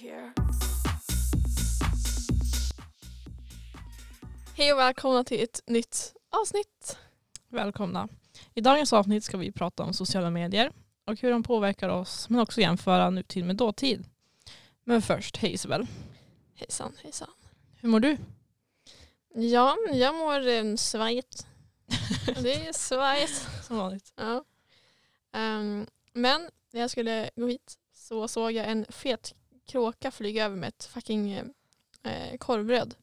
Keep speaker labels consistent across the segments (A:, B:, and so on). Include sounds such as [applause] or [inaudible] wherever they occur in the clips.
A: here.
B: Hej och välkomna till ett nytt avsnitt.
C: Välkomna. I dagens avsnitt ska vi prata om sociala medier och hur de påverkar oss men också jämföra nutid med dåtid. Men först, hej Isabel.
B: Hejsan hejsan.
C: Hur mår du?
B: Ja, jag mår um,
C: [laughs]
B: svajigt. det är svajigt.
C: Som vanligt.
B: Ja. Ehm, men när jag skulle gå hit så såg jag en fet kråka flyga över med ett fucking eh, korvbröd.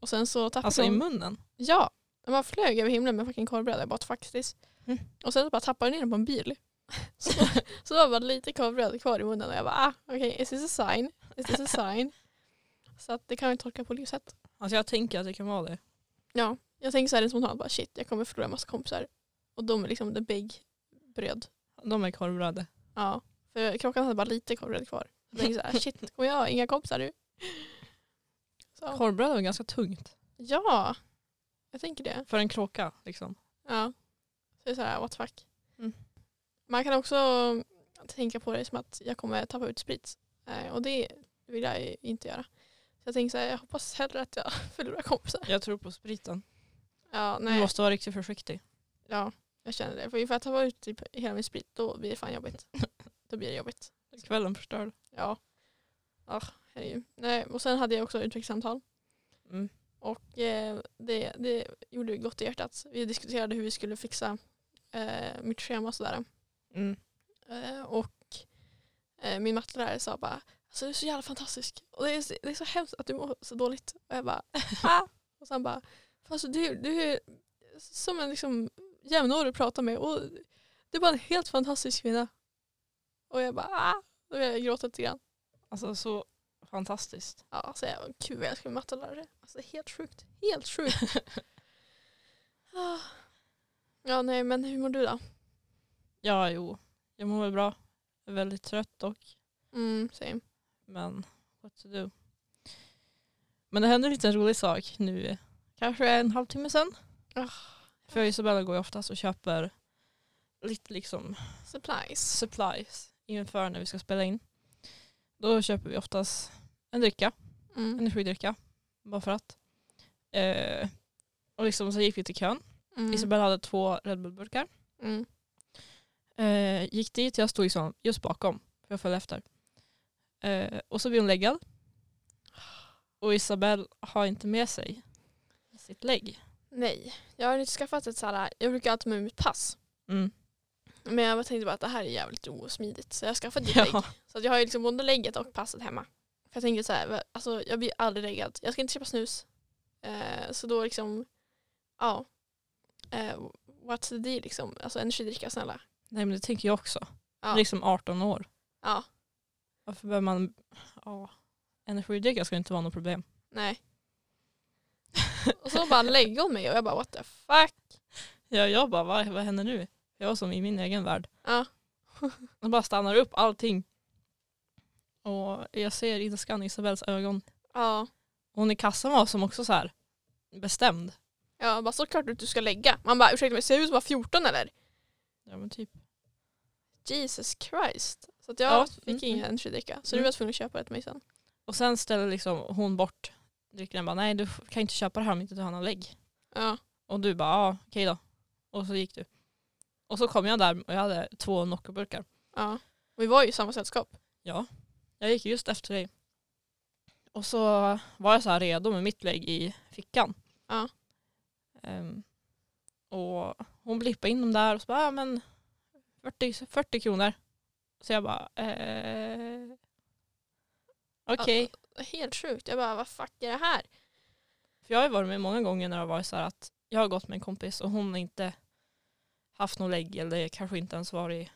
B: Och sen så tappade
C: Alltså i
B: hon-
C: munnen.
B: Ja, man flög över himlen med fucking korvbröd. Jag bara faktiskt.
C: Mm.
B: Och sen så bara tappade jag ner den på en bil. [laughs] Så, så det var bara lite korvbröd kvar i munnen och jag bara ah, okej, is this a sign? Is this a sign? Så att det kan man ju tolka på olika sätt.
C: Alltså jag tänker att det kan vara det.
B: Ja, jag tänker så här spontant bara shit, jag kommer förlora en massa kompisar. Och de är liksom the big bröd.
C: De är korvbröd.
B: Ja, för krockan hade bara lite korvbröd kvar. Jag tänkte så här, shit, kommer jag ha inga kompisar nu? Så,
C: Korvbröd är ganska tungt.
B: ja, jag tänker det.
C: För en kråka liksom.
B: Ja. Så det är så här, what the fuck.
C: Mm.
B: Man kan också tänka på det som att jag kommer tappa ut sprit. Eh, och det vill jag ju inte göra. Så jag tänker så här, jag hoppas hellre att jag [laughs] förlorar kompisar.
C: Jag tror på spriten.
B: Ja,
C: Du
B: nej.
C: måste vara riktigt försiktig.
B: Ja, jag känner det. För ifall jag tappar ut typ hela min sprit, då blir det fan
C: [laughs]
B: jobbigt. då blir det jobbigt.
C: Kvällen förstörd.
B: Ja. Ah, herregud. nej. Och sen hade jag också utvecklingssamtal.
C: Mm.
B: Och eh, det, det gjorde ju gott i hjärtat. Vi diskuterade hur vi skulle fixa eh, mitt schema och sådär.
C: Mm.
B: Eh, och eh, min mattelärare sa bara, alltså du är så jävla fantastisk. Och det är, så- det är så hemskt att du mår så dåligt. Och jag bara, [laughs] ah! Och sen bara, fast du, du är som en liksom, jämnårig att prata med. Och du är bara en helt fantastisk kvinna. Och jag bara, ah! Då började jag gråta lite grann.
C: Alltså så fantastiskt.
B: Ja, alltså jag var gud jag älskar min mattelärare. Alltså helt sjukt. Helt sjukt. Ah. ja, nej men hur mår du då?
C: Ja, jo. Jag mår väl bra. Jag är väldigt trött och
B: Mm, same.
C: Men what to do. Men det hände en liten rolig sak nu. Kanske en halvtimme sen.
B: Ah.
C: För jag och Isabella går ju oftast och köper lite liksom
B: Supplies.
C: supplies inför när vi ska spela in. Då köper vi oftast en dricka,
B: Mm.
C: energidricka. Bara för att. Eh, och liksom så gick vi till kön.
B: Mm.
C: Isabella hade två Red Bull-burkar.
B: Mm.
C: Eh, gick dit, jag stod liksom just bakom. För jag följde efter. Eh, och så blev hon läggad. Och Isabel har inte med sig sitt lägg.
B: Nej, jag har inte skaffat ett så här, jag brukar alltid med mitt pass.
C: Mm.
B: Men jag tänkte bara att det här är jävligt osmidigt så jag har skaffat [laughs] ett lägg.
C: Ja.
B: Så att jag har ju liksom både lägget och passet hemma. För jag tänker så här, va- alltså jag blir aldrig läggad. Jag ska inte köpa snus. Eh, så då liksom, ja. Eh, what's the deal liksom? Alltså energidricka snälla.
C: Nej men det tänker jag också.
B: Ja.
C: Liksom 18 år.
B: Ja,
C: Varför behöver man... Ja. Energidricka ska inte vara något problem. [laughs]
B: nej. Och så bara lägger hon mig och jag bara what the fuck.
C: Ja, jag bara, vad, vad händer nu? Jag var som i min egen värld.
B: Ja.
C: De bara stannar upp allting. Och jag ser i skan Isabels ögon.
B: Ja,
C: Hon i kassan var som också så här bestämd.
B: ja bara såklart att du ska lägga. Man bara ursäkta mig, ser jag ut att vara 14 eller?
C: Ja men typ.
B: Jesus Christ. Så att jag
C: Ja,
B: fick
C: mm,
B: ingen energidricka. Så du
C: Mm.
B: var tvungen att köpa det till mig sen.
C: Och sen ställer liksom hon bort drycken och bara nej du f- kan inte köpa det här om inte du har någon lägg.
B: Ja.
C: Och du bara ja okej då. Och så gick du. Och så kom jag där och jag hade två Noccoburkar.
B: ja. Vi var ju i samma sällskap.
C: Ja, jag gick just efter dig. Och så var jag så här redo med mitt lägg i fickan.
B: Ja.
C: Ehm, och hon blippade in dem där och så bara ja men 40, 40 kronor. Så jag bara eh, okej.
B: Helt sjukt. Jag bara, vad fuck är det
C: [laughs]
B: här?
C: För jag har ju varit med många gånger när det har varit så här att jag har gått med en kompis och hon har inte haft något lägg eller kanske inte ens varit,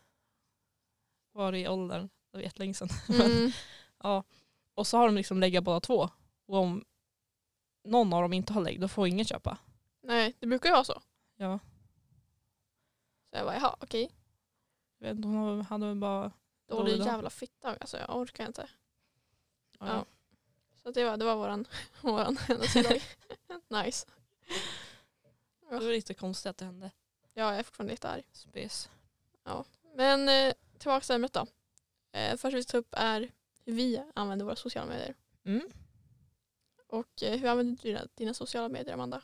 C: varit i åldern. Det var jättelänge sedan. [laughs]
B: Mm.
C: Ja. Och så har de liksom lägga båda två. Och om någon av dem inte har lägg då får ingen köpa.
B: Nej, det brukar ju vara så.
C: Ja.
B: Så jag bara, jaha okej.
C: Jag vet inte, hon hade väl bara...
B: Dålig
C: Dålig dag.
B: jävla fitta. Alltså jag orkar inte.
C: Ja.
B: Ja. Så att det var, det var våran, [laughs] våran
C: [laughs]
B: händelsedag. nice.
C: Det var lite konstigt att det hände.
B: Ja, jag är fortfarande lite arg.
C: Spes.
B: Men eh, tillbaka till ämnet då. Eh, först vi ska ta upp är hur vi använder våra sociala medier.
C: Mm.
B: Och eh, hur använder du dina, dina sociala medier Amanda?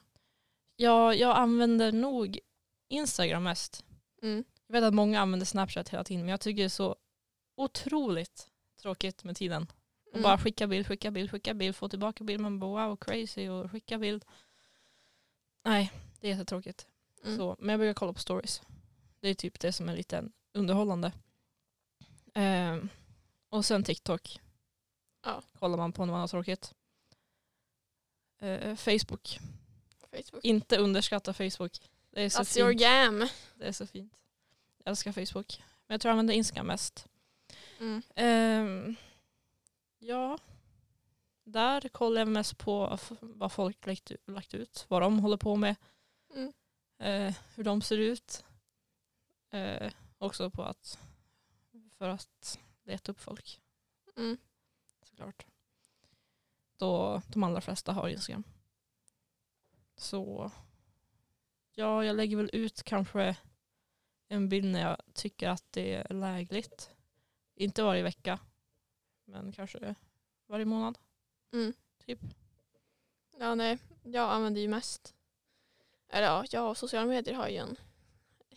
C: Ja, jag använder nog Instagram mest.
B: Mm.
C: Jag vet att många använder Snapchat hela tiden men jag tycker det är så otroligt tråkigt med tiden. Och
B: Mm.
C: bara skicka bild, skicka bild, skicka bild, få tillbaka bild. Man bara wow crazy och skicka bild. Nej, det är jättetråkigt.
B: Mm.
C: Så, men jag brukar kolla på stories. Det är typ det som är lite underhållande. Ehm, och sen TikTok.
B: Ja.
C: Kollar man på när man har tråkigt. Eh, Facebook.
B: Facebook.
C: Inte underskatta Facebook. Det är så
B: That's your
C: fint.
B: jam.
C: Det är så fint. Jag älskar Facebook. Men jag tror jag använder Instagram mest.
B: Mm.
C: Ehm, ja, där kollar jag mest på f- vad folk lagt, lagt ut, vad de håller på med,
B: Mm.
C: eh, hur de ser ut. Eh, också på att, för att leta upp folk
B: Mm.
C: såklart. Då de allra flesta har Instagram. Så ja, jag lägger väl ut kanske en bild när jag tycker att det är lägligt. Inte varje vecka, men kanske varje månad.
B: Mm.
C: Typ.
B: Ja, nej. Jag använder ju mest. Eller ja, jag och sociala medier har ju en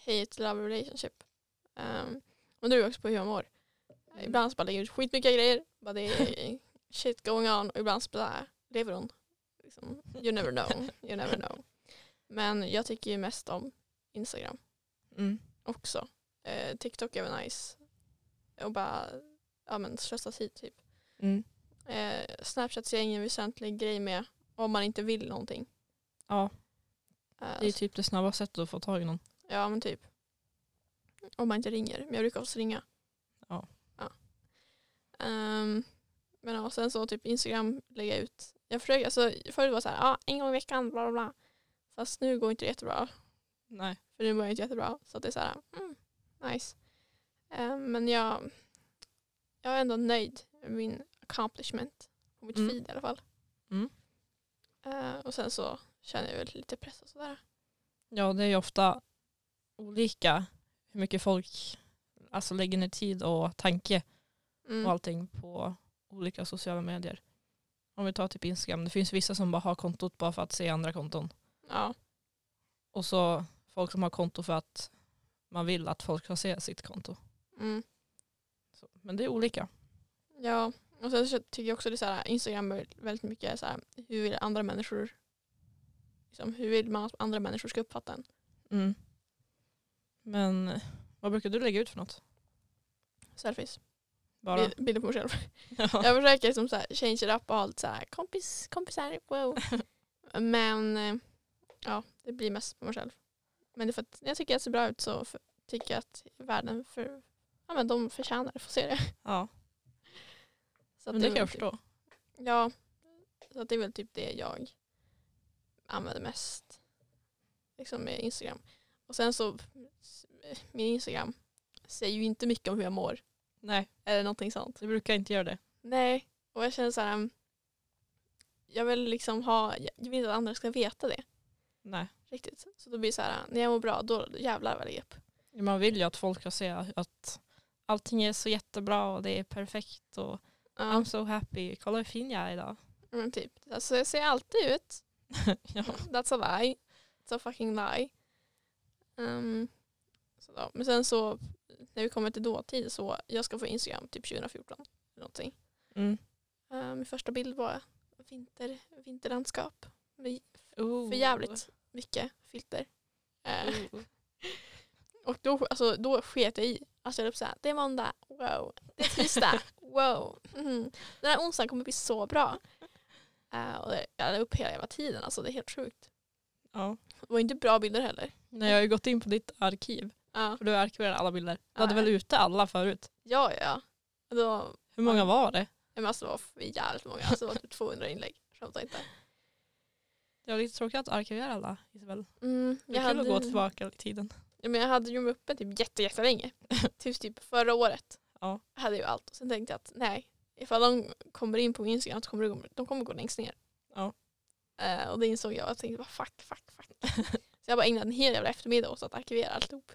B: hate love relationship. Um, men det beror också på hur jag mår. Ibland så bara lägger jag ut skitmycket grejer. Bara det är [laughs] shit going on. Och ibland så bara lever hon. Liksom, you never know. You never know. Men jag tycker ju mest om Instagram
C: Mm.
B: också. Eh, TikTok är väl nice. Och bara ja, men, slösa tid typ.
C: Mm.
B: Eh, Snapchat ser jag ingen väsentlig grej med om man inte vill någonting.
C: Ja,
B: Eh,
C: det är typ det snabba sättet att få tag i någon.
B: Ja men typ. Om man inte ringer. Men jag brukar också ringa.
C: Ja.
B: Ehm, men ja, sen så typ Instagram lägga ut. Jag försöker, alltså, förut var det så här, ja, en gång i veckan bla bla bla. Fast nu går inte det jättebra.
C: Nej.
B: För nu mår jag inte jättebra. Så att det är så här, mm, nice. Ehm, men jag, jag är ändå nöjd med min accomplishment. På mitt
C: Mm.
B: feed i alla fall.
C: Mm.
B: Ehm, och sen så känner jag väl lite press och sådär.
C: Ja, det är ju ofta olika hur mycket folk alltså, lägger ner tid och tanke
B: Mm.
C: och allting på olika sociala medier. Om vi tar typ Instagram, det finns vissa som bara har kontot bara för att se andra konton.
B: Ja.
C: Och så folk som har konto för att man vill att folk ska se sitt konto.
B: Mm.
C: Så, men det är olika.
B: Ja, och sen så tycker jag också det är så här, Instagram är väldigt mycket så här, hur vill andra människor liksom, hur vill man att andra människor ska uppfatta en?
C: Mm. Men eh, vad brukar du lägga ut för något?
B: Selfies.
C: Bara?
B: Bi- Bilder på mig själv.
C: [laughs] Ja.
B: Jag försöker liksom så här, change it up och ha lite så här, kompis, kompisar,
C: [laughs]
B: wow. Men eh, ja, det blir mest på mig själv. Men det är för att när jag tycker jag ser bra ut så för, tycker jag att världen för, ja, men de förtjänar att få se det.
C: ja.
B: Så att
C: Men det kan
B: är
C: jag
B: väl typ-
C: förstå.
B: Ja, så att det är väl typ det jag använder mest. Liksom med Instagram. Och sen så, eh, min Instagram säger ju inte mycket om hur jag mår.
C: Nej,
B: Eller någonting sånt.
C: du brukar inte göra det.
B: Nej, och jag känner så här, um, jag vill liksom ha, jag vill inte att andra ska veta det
C: Nej.
B: riktigt. Så då blir det så här, uh, när jag mår bra, då jävlar vad jag lägger upp.
C: Man vill ju att folk ska se att allting är så jättebra och det är perfekt och I'm
B: Ja,
C: so happy. Kolla hur fin jag är idag.
B: Mm, men typ. Alltså jag ser alltid ut
C: ja.
B: That's a lie. It's a fucking lie. Ehm, så då. Men sen så när vi kommer till dåtid så jag ska få Instagram typ 2014. Eller någonting.
C: Mm.
B: Ehm, min första bild var vinter, vinterlandskap. Med
C: Ooh.
B: för jävligt mycket filter. Eh,
C: Ooh.
B: och då, alltså, då sket jag i. Alltså jag höll på så här, det är måndag, wow. Det är [laughs] tisdag, wow. Mm. Den här onsdagen kommer bli så bra. Eh, och det- jag la upp hela jävla tiden, alltså det är helt sjukt.
C: Ja.
B: Det var inte bra bilder heller.
C: Nej, jag har ju gått in på ditt arkiv.
B: Ja,
C: För du arkiverar alla bilder. Du hade
B: Ja,
C: väl
B: ja.
C: ute alla förut?
B: ja. ja. Och Då,
C: Hur många var det?
B: men alltså, det var för jävligt många. Alltså, det var typ 200 inlägg. Skämtar inte.
C: Det var lite tråkigt att arkivera alla, Isabel.
B: Mm,
C: Det är kul att gå tillbaka i tiden.
B: ja, men jag hade ju uppe typ jätte, jättelänge. [laughs] Tills typ förra året.
C: Ja.
B: Jag hade ju allt. Och sen tänkte jag att nej, ifall de kommer in på min Instagram så kommer de, de kommer gå längst ner.
C: Ja.
B: Eh, och det insåg jag. Jag tänkte bara fuck, fuck, fuck. [laughs] så jag bara ägnade en hel jävla eftermiddag åt att arkivera alltihop.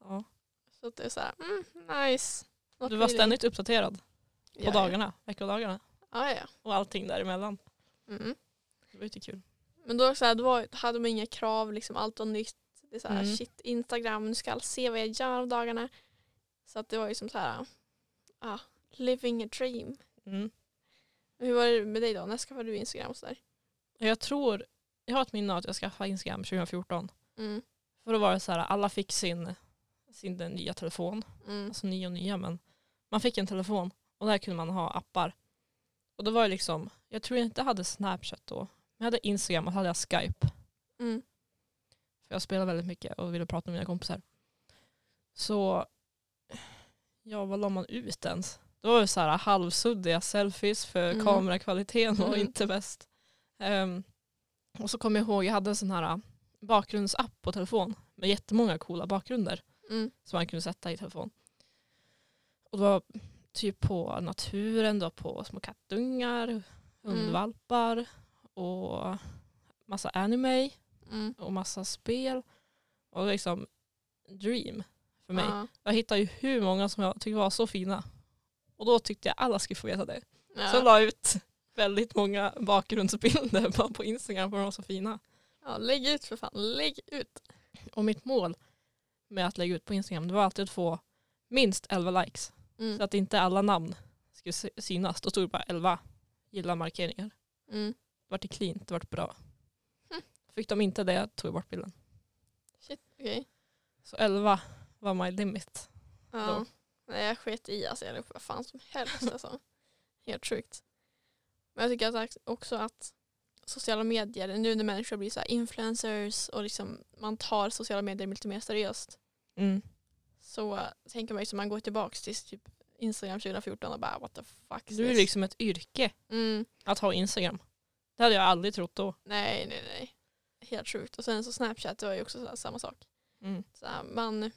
C: Ja.
B: Så att det är så här, mm, nice. Not
C: Du var
B: really.
C: ständigt uppdaterad. På
B: Ja, ja.
C: dagarna, veckodagarna.
B: Ja, ja, ja.
C: Och allting däremellan.
B: Mm.
C: Det var jättekul.
B: Men då, så här, då var, hade man inga krav, liksom, allt var nytt. Det är så här,
C: Mm.
B: shit, Instagram, nu ska alla se vad jag gör av dagarna. Så att det var ju som så här, ah, living a dream.
C: Mm.
B: Hur var det med dig då? När skaffade du Instagram och sådär?
C: Och Jag tror, jag har ett minne av att jag skaffade Instagram 2014.
B: Mm.
C: För då var det så här, alla fick sin, sin den nya telefon.
B: Mm.
C: alltså nya och nya men man fick en telefon och där kunde man ha appar. Och då var det liksom, jag tror jag inte hade Snapchat då, men jag hade Instagram och så hade jag Skype.
B: Mm.
C: För jag spelade väldigt mycket och ville prata med mina kompisar. Så, ja vad la man ut ens? Det var ju så här halvsuddiga selfies för
B: Mm.
C: kamerakvaliteten var
B: Mm.
C: inte bäst. Ehm, och så kommer jag ihåg, jag hade en sån här eh, bakgrundsapp på telefon med jättemånga coola bakgrunder
B: Mm.
C: som man kunde sätta i telefon. Och det var typ på naturen, det var på små kattungar, hundvalpar och massa anime
B: Mm.
C: och massa spel. Och liksom dream för mig.
B: Ja.
C: Jag hittade ju hur många som jag tyckte var så fina. Och då tyckte jag alla skulle få veta det. Så jag
B: Ja.
C: la ut väldigt många bakgrundsbilder bara på Instagram för de var så fina.
B: ja, lägg ut för fan, lägg ut.
C: Och mitt mål med att lägga ut på Instagram det var alltid att få minst 11 likes.
B: Mm.
C: Så att inte alla namn skulle sy- synas. Då stod det bara 11 gilla markeringar.
B: Mm.
C: Det vart cleant, det vart bra.
B: Mm.
C: Fick de inte det tog jag bort bilden.
B: Shit, okej.
C: Så 11 var my limit.
B: Ja.
C: Då.
B: Nej, jag sket i alltså, jag la upp vad fan som helst.
C: [laughs]
B: Alltså. Helt sjukt. Men jag tycker att också att sociala medier, nu när människor blir så här influencers och liksom man tar sociala medier lite mer seriöst
C: Mm.
B: så eh, tänker man ju som man går tillbaka till typ Instagram 2014 och bara what the fuck is
C: Du är
B: this?
C: liksom ett yrke
B: mm,
C: att ha Instagram. Det hade jag aldrig trott då.
B: Nej, nej, nej. Helt sjukt. Och sen så Snapchat, det var ju också så här, samma sak. så här, man,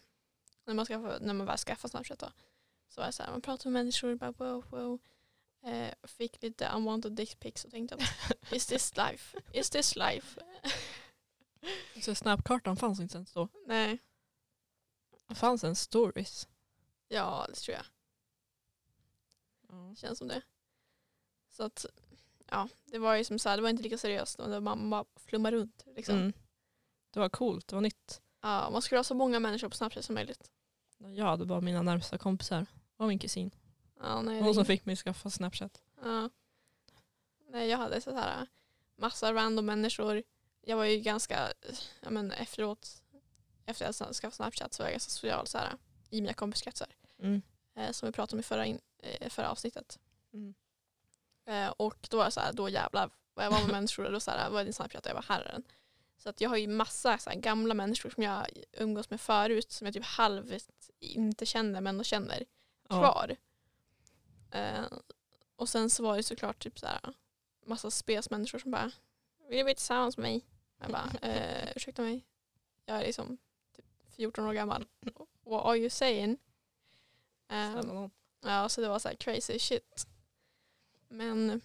B: när, man skaffar, när man väl skaffar Snapchat då, så var det så här, man pratade med människor bara wow wow. Eh, fick lite unwanted dick pics och tänkte att [laughs] is this life? Is this life? [laughs]
C: Så snapkartan fanns inte ens då.
B: Nej,
C: Det fanns en stories.
B: ja det tror jag. Känns som det. Så att ja, det var ju som så här, det var inte lika seriöst och det var man bara flummar runt. Liksom.
C: Mm. Det var coolt, det var nytt.
B: Ja, man skulle ha så många människor på Snapchat som möjligt.
C: Jag hade bara mina närmsta kompisar och min kusin.
B: Ja, nej, det-
C: Hon som fick mig skaffa Snapchat.
B: Ja. Nej, jag hade så här äh, massa random människor. Jag var ju ganska, ja men efteråt, efter att jag skaffade Snapchat så var jag ganska social så här, äh, i mina kompiskretsar.
C: Mm.
B: Eh, som vi pratade om i förra, in, eh, förra avsnittet.
C: Mm.
B: Eh, och då var jag så här, då jävlar vad jag var med [laughs] människor och då så här, vad är din Snapchat? Och jag var herren. Så att jag har ju massa så här, gamla människor som jag umgås med förut som jag typ halvt inte känner men ändå känner
C: Ja.
B: kvar. Eh, och sen så var det såklart typ så här, massa spesmänniskor som bara vill du bli tillsammans med mig? Jag
C: [laughs]
B: bara eh, ursäkta mig. Jag är liksom typ 14 år gammal. What are you saying? Eh,
C: Snälla nån.
B: ja så det var så här crazy shit. Men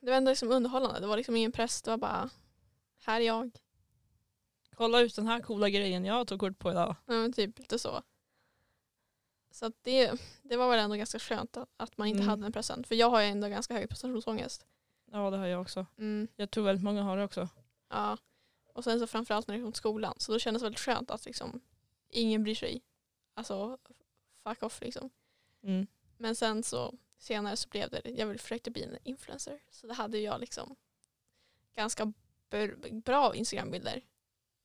B: det var ändå liksom underhållande. Det var liksom ingen press. Det var bara här är jag.
C: Kolla ut den här coola grejen jag tog kort på idag.
B: Ja, men typ lite så. Så att det, det var väl ändå ganska skönt att, att man inte
C: Mm.
B: hade en present. För jag har ju ändå ganska hög prestationsångest.
C: Ja det har jag också.
B: Mm,
C: Jag tror väldigt många har det också.
B: ja. Och sen så framförallt när det kom till skolan. Så då kändes det väldigt skönt att liksom, ingen bryr sig. Alltså fuck off liksom.
C: Mm.
B: Men sen så senare så blev det, jag vill- försökte bli en influencer. Så det hade jag liksom ganska br- bra Instagram-bilder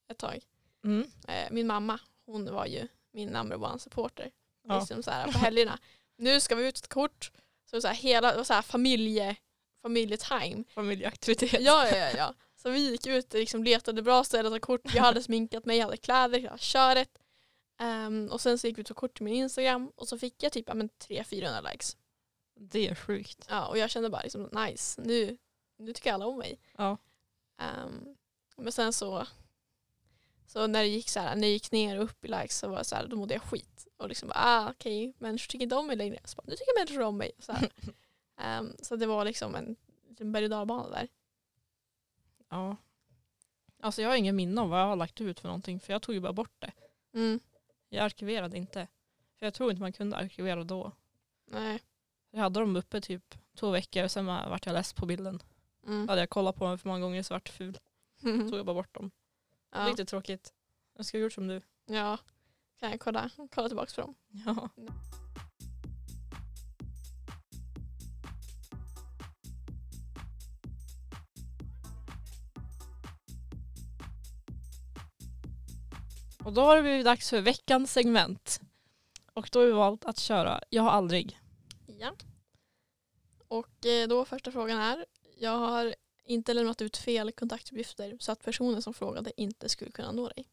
B: ett tag.
C: Mm.
B: Eh, min mamma, hon var ju min number one supporter.
C: Ja.
B: Liksom så här, på helgerna. Nu ska vi ut ett kort. Så det var så här, hela, det var så här familje, familjetime.
C: Familjeaktivitet.
B: Ja, ja, ja, ja. Så vi gick ut och liksom letade bra ställen att ta kort. Jag hade sminkat mig, jag hade kläder, jag hade köret. Ehm, och sen så gick vi ut och tog kort till min Instagram och så fick jag typ ja, men 300-400 likes.
C: Det är sjukt.
B: Ja, och jag kände bara liksom, nice, nu, nu tycker alla om mig.
C: Ja.
B: Ehm, men sen så, så när det gick så här, när det gick ner och upp i likes så var det så här, då mådde jag skit. Och liksom bara, ah, okej, människor tycker inte om mig längre. Så bara, nu tycker människor om mig. Så, [laughs] här. Ehm, så det var liksom en liten berg och dalbana där.
C: ja. Alltså jag har ingen minne om vad jag har lagt ut för någonting för jag tog ju bara bort det.
B: Mm.
C: Jag arkiverade inte. För jag tror inte man kunde arkivera då.
B: Nej.
C: Jag hade dem uppe typ två veckor och sen var- vart jag less på bilden.
B: Mm.
C: Hade jag kollat på dem för många gånger så vart det ful. Så tog jag bara bort dem.
B: Ja.
C: Lite tråkigt. Jag skulle ha gjort som du.
B: [laughs]
C: [laughs]
B: ja, kan jag kolla, kolla tillbaka på dem.
C: Ja. Och då har det blivit dags för veckans segment. Och då har vi valt att köra Jag har aldrig.
B: Ja. Och eh, då första frågan är, jag har inte lämnat ut fel kontaktuppgifter så att personen som frågade inte skulle kunna nå dig.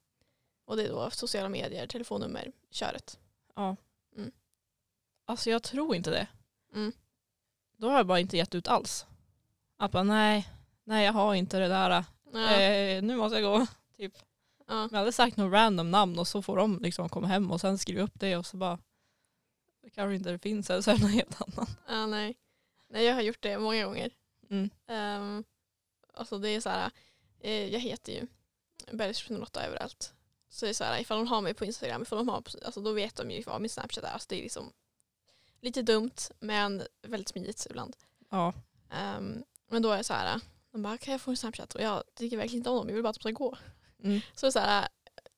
B: Och det är då sociala medier, telefonnummer, köret.
C: Ja.
B: Mm.
C: Alltså jag tror inte det.
B: Mm.
C: Då har jag bara inte gett ut alls. Att bara nej, nej jag har inte det där.
B: Ja.
C: Eh, nu måste jag gå.
B: ja.
C: Jag hade sagt något random namn och så får de liksom komma hem och sen skriva upp det och så bara det kanske inte det finns eller så är det någon helt annan.
B: ja nej. nej, jag har gjort det många gånger.
C: Mm.
B: Um, alltså det är så här, eh, jag heter ju Bergström08 överallt. Så det är så här, ifall de har mig på Instagram, ifall de har, på- alltså då vet de ju vad min Snapchat är. Alltså det är liksom lite dumt men väldigt smidigt ibland.
C: Ja.
B: Ehm, men då är det så här, de bara kan jag få en Snapchat? Och jag tycker verkligen inte om dem, jag vill bara att de ska gå.
C: Mm.
B: Så det är så här,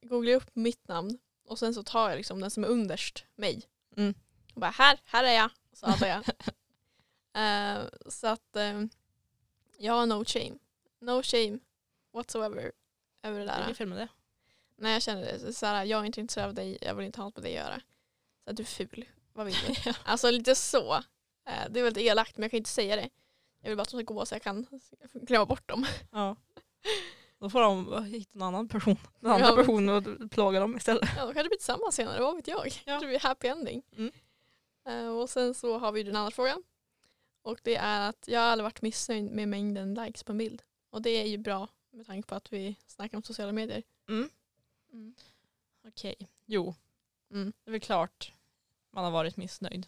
B: googlar jag upp mitt namn och sen så tar jag liksom den som är underst mig.
C: Mm.
B: Och bara här, här är jag. Så addar jag. Ehm, så att ehm, ja, no shame. No shame whatsoever. Över det
C: Det är
B: där.
C: inget fel med det.
B: När jag känner det, så- så här, jag är inte intresserad av dig, jag vill inte ha något med dig att göra. Så att du är ful, vad vill
C: [laughs]
B: du? alltså lite så. Eh, Det är väldigt elakt men jag kan inte säga det. Jag vill bara att de ska gå så jag kan glömma bort
C: [laughs]
B: dem.
C: Ja. Då får de hitta en annan person. En annan
B: Ja.
C: person och plåga dem istället.
B: Ja, de kanske blir tillsammans senare, vad vet jag.
C: Ja.
B: Det blir happy ending.
C: Mm.
B: Eh, Och sen så har vi den andra frågan. Och det är att jag har aldrig varit missnöjd med mängden likes på en bild. Och det är ju bra med tanke på att vi snackar om sociala medier.
C: Mm. Okej. Jo.
B: Mm.
C: Det är väl klart man har varit missnöjd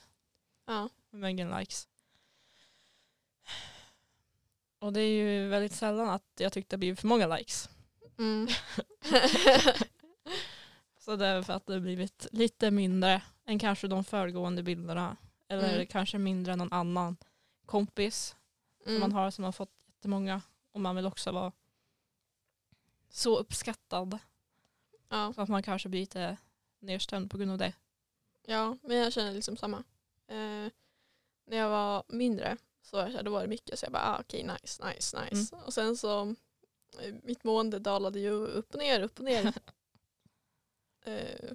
B: Ja.
C: med mängden likes. Och det är ju väldigt sällan att jag tyckte det blivit för många likes. [laughs]
B: Mm.
C: Så det är för att det har blivit lite mindre än kanske de föregående bilderna. Eller
B: Mm.
C: kanske mindre än någon annan kompis som man
B: Mm.
C: har som har fått jättemånga. Och man vill också vara så uppskattad.
B: Mm. Ja.
C: Så att man kanske blir lite nedstämd på grund av det.
B: Ja, men jag känner liksom samma. Eh, när jag var mindre så var, jag, så här, då var det mycket så jag bara ah, okej nice, nice, nice. Och sen så eh, mitt mående dalade ju upp och ner, upp och ner. eh,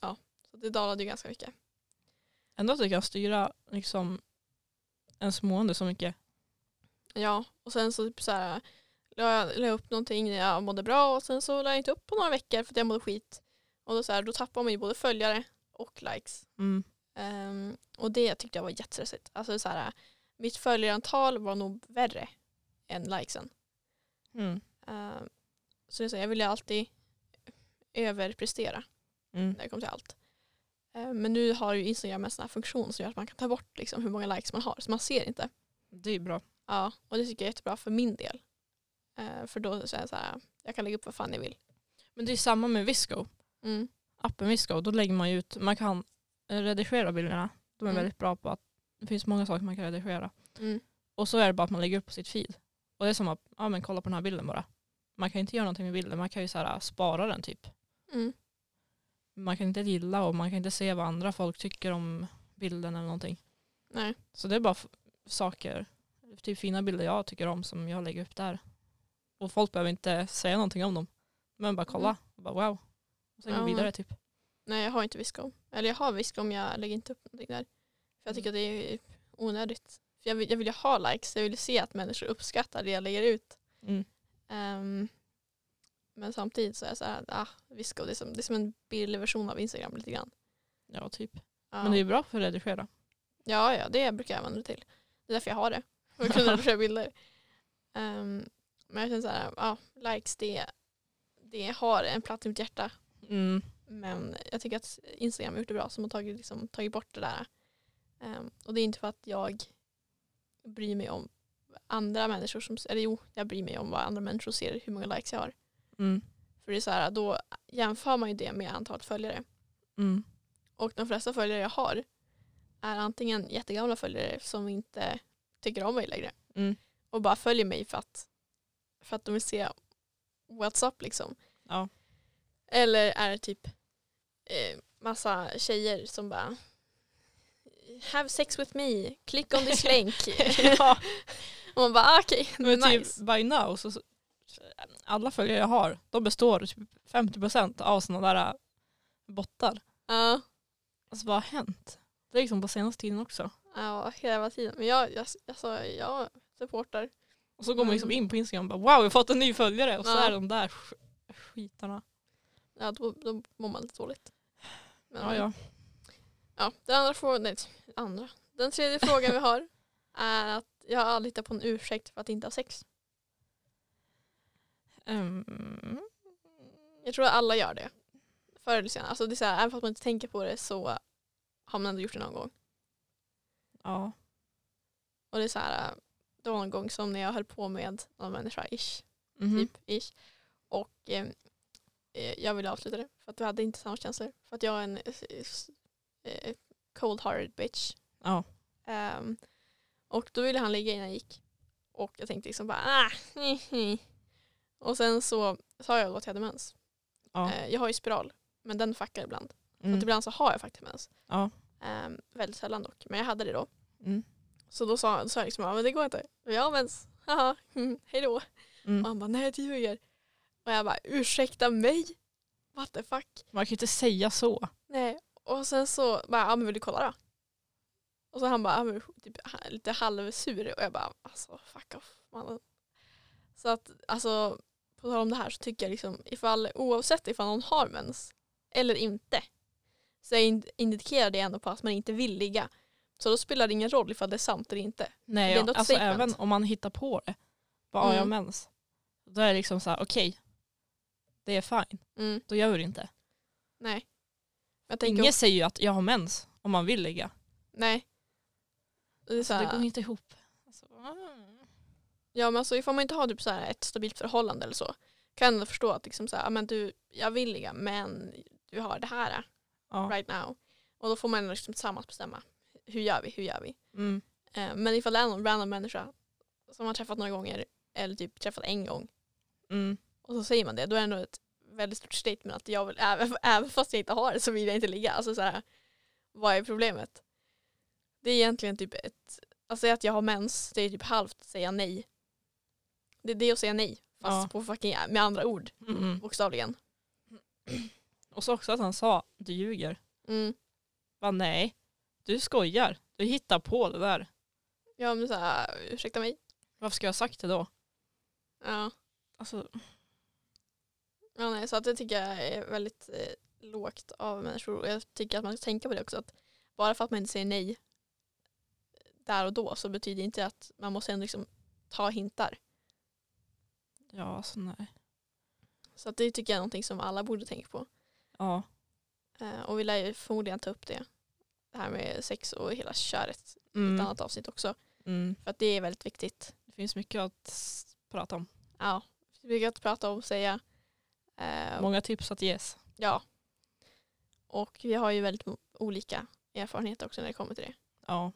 B: ja, så det dalade ju ganska mycket.
C: Ändå att det kan styra liksom ens mående så mycket.
B: Ja, och sen så typ så här la jag, la jag upp någonting när jag mådde bra och sen så la jag inte upp på några veckor för att jag mådde skit. Och då, så här, då tappade man ju både följare och likes.
C: Mm.
B: Ehm, och det tyckte jag var jättestressigt. Alltså så här, mitt följarantal var nog värre än likesen.
C: Mm.
B: Ehm, så det är så här, jag ville alltid överprestera
C: Mm.
B: när det kom till allt. Ehm, men nu har ju Instagram en sån här funktion som gör att man kan ta bort liksom, hur många likes man har. Så man ser inte.
C: Det är bra.
B: Ja, och det tycker jag är jättebra för min del. Ehm, för då så är jag så här, jag kan lägga upp vad fan jag vill.
C: Men det är samma med Visco.
B: Mm.
C: appen Visco, då lägger man ju ut, man kan eh, redigera bilderna. De är
B: Mm.
C: väldigt bra på att det finns många saker man kan redigera.
B: Mm.
C: Och så är det bara att man lägger upp på sitt feed. Och det är som att, ja men kolla på den här bilden bara. Man kan inte göra någonting med bilden, man kan ju så här, spara den typ.
B: Mm.
C: Man kan inte gilla och man kan inte se vad andra folk tycker om bilden eller någonting.
B: Nej.
C: Så det är bara f- saker, typ fina bilder jag tycker om som jag lägger upp där. Och folk behöver inte säga någonting om dem. Men bara kolla, och bara wow. Och sen
B: Mm. Ja,
C: gå
B: men-
C: vidare typ.
B: Nej, jag har inte Viscom. Eller jag har Viscom, jag lägger inte upp någonting där. För jag tycker att
C: Mm.
B: det är onödigt. För jag, vill, jag vill ju ha likes, jag vill ju se att människor uppskattar det jag lägger ut.
C: Mm.
B: Ehm, men samtidigt så är jag så här, ah, Viscom, det är som, det är som en billig version av Instagram lite grann.
C: Ja typ.
B: Ja,
C: Men det är ju bra för att redigera.
B: ja, ja, det brukar jag använda det till. Det är därför jag har det. För att
C: [laughs]
B: kunna redigera bilder. Ehm, men jag känner så här, ah, likes det, det har en plats i mitt hjärta.
C: Mm.
B: Men jag tycker att Instagram har gjort det bra som har tagit, liksom, tagit bort det där. Ehm, och det är inte för att jag bryr mig om andra människor som, eller jo, jag bryr mig om vad andra människor ser, hur många likes jag har.
C: Mm.
B: För det är så här, då jämför man ju det med antalet följare.
C: Mm.
B: Och de flesta följare jag har är antingen jättegamla följare som inte tycker om mig längre
C: Mm.
B: och bara följer mig för att, för att de vill se what's up liksom.
C: Ja.
B: Eller är det typ eh, massa tjejer som bara have sex with me, click on this link.
C: [laughs] ja,
B: och man bara ah, okej,
C: [laughs] men typ
B: nice.
C: by now så, så alla följare jag har, de består typ 50% av sådana där äh, bottar.
B: Ja,
C: Alltså vad har hänt? Det är liksom på senaste tiden också.
B: ja, hela tiden. Men jag, jag, alltså, jag supportar.
C: Och så går man liksom in på Instagram och bara wow jag har fått en ny följare och så
B: Ja.
C: är de där sk- skitarna.
B: Ja, då, då mår man lite dåligt. Men,
C: Ja, ja.
B: Ja, den andra frågan, nej, andra. Den tredje frågan vi har är att jag har aldrig hittat på en ursäkt för att inte ha sex.
C: Ehm,
B: Jag tror att alla gör det. Förr eller senare. Alltså det är så här, även fast man inte tänker på det så har man ändå gjort det någon gång.
C: ja.
B: Och det är så här, det var någon gång som när jag höll på med någon människa, ish.
C: Mhm.
B: Typ, ish. Och eh, eh, jag ville avsluta det för att vi hade inte samma känslor. För att jag är en eh, s- eh, cold-hearted bitch.
C: Ja.
B: Ehm, och då ville han ligga innan jag gick. Och jag tänkte liksom bara ah, hi, hi. Och sen så sa jag då att jag hade mens.
C: Ja.
B: Eh, jag har ju spiral, men den fuckar ibland. Så
C: Mm.
B: att ibland så har jag faktiskt mens.
C: Ja.
B: Ehm, väldigt sällan dock, men jag hade det då.
C: Mm.
B: Så då sa, då sa jag liksom, ja men det går inte. Jag har mens, [laughs] haha, mm, hej då.
C: Mm.
B: Och han bara, nej du ljuger. Och jag bara, ursäkta mig? What the fuck?
C: Man kan ju inte säga så.
B: Nej, och sen så bara, ja men vill du kolla då? Och så han bara, ja, men, typ, ha- lite halvsur och jag bara, alltså fuck off mannen. Så att alltså, på tal om det här så tycker jag liksom, ifall, oavsett ifall någon har mens eller inte, så in- indikerar det ändå på att man inte vill ligga. Så då spelar det ingen roll ifall det är sant eller inte.
C: Nej,
B: Det är
C: ja.
B: ändå ett
C: alltså
B: statement.
C: även om man hittar på det. Bara, mm. jag har
B: Mm.
C: mens. Då är det liksom så här, okej. det är fine.
B: Mm,
C: Då gör vi det inte.
B: nej. Jag tänker,
C: Ingen säger ju att jag har mens om man vill ligga.
B: nej. Det är så
C: Så det går
B: här,
C: inte ihop. Alltså, mm.
B: Ja men alltså ifall man inte har typ så här ett stabilt förhållande eller så kan jag ändå förstå att liksom så här, "Ah, men du, jag vill ligga men du har det här
C: Ja.
B: right now. Och då får man ändå liksom tillsammans bestämma hur gör vi, hur gör vi.
C: Mm.
B: Eh, men ifall det är någon random människa som man träffat några gånger eller typ träffat en gång
C: Mm.
B: och så säger man det då är det ändå ett väldigt stort statement att jag vill, även, [laughs] även fast jag inte har det så vill jag inte ligga. Alltså så här, vad är problemet? Det är egentligen typ ett, alltså att jag har mens, det är typ halvt att säga nej. Det är det att säga nej, fast
C: Ja.
B: på fucking, med andra ord,
C: Mm. Mm.
B: bokstavligen.
C: Och så också att han sa, du ljuger.
B: Mm.
C: Va, nej, du skojar. Du hittar på det där.
B: Ja men såhär, ursäkta mig.
C: Varför ska jag ha sagt det då?
B: Ja.
C: Alltså,
B: Ja, nej, så att det tycker jag är väldigt eh, lågt av människor. Och jag tycker att man ska tänka på det också. Att bara för att man inte säger nej eh, där och då så betyder det inte att man måste ändå liksom ta hintar.
C: ja, alltså nej.
B: Så att det tycker jag är någonting som alla borde tänka på.
C: Ja.
B: Eh, och vi lär ju förmodligen ta upp det. Det här med sex och hela köret i ett
C: Mm.
B: annat avsnitt också.
C: Mm.
B: För att det är väldigt viktigt.
C: Det finns mycket att s- prata om.
B: Ja, det är att prata om, säga. Eh,
C: Många tips att ges.
B: ja. Och vi har ju väldigt mo- olika erfarenheter också när det kommer till det.
C: Ja.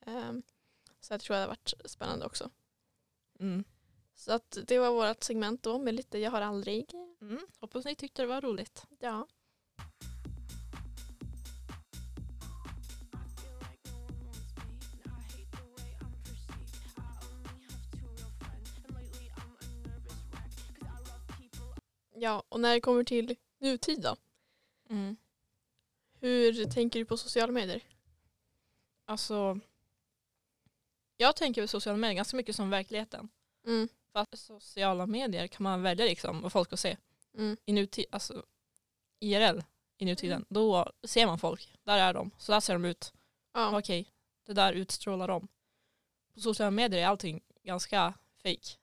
B: Ehm, så jag tror det har varit spännande också.
C: Mm.
B: Så att det var vårt segment då med lite jag har aldrig.
C: Mm. Hoppas ni tyckte det var roligt.
B: Ja. Ja, och när det kommer till nutid då? Hur tänker du på sociala medier?
C: Alltså, jag tänker på sociala medier ganska mycket som verkligheten.
B: Mm.
C: För att sociala medier kan man välja liksom vad folk ska se.
B: Mm.
C: I nutid, alltså IRL i nutiden,
B: Mm.
C: då ser man folk. Där är de, så där ser de ut.
B: Ja.
C: Okej, det där utstrålar de. På sociala medier är allting ganska fake.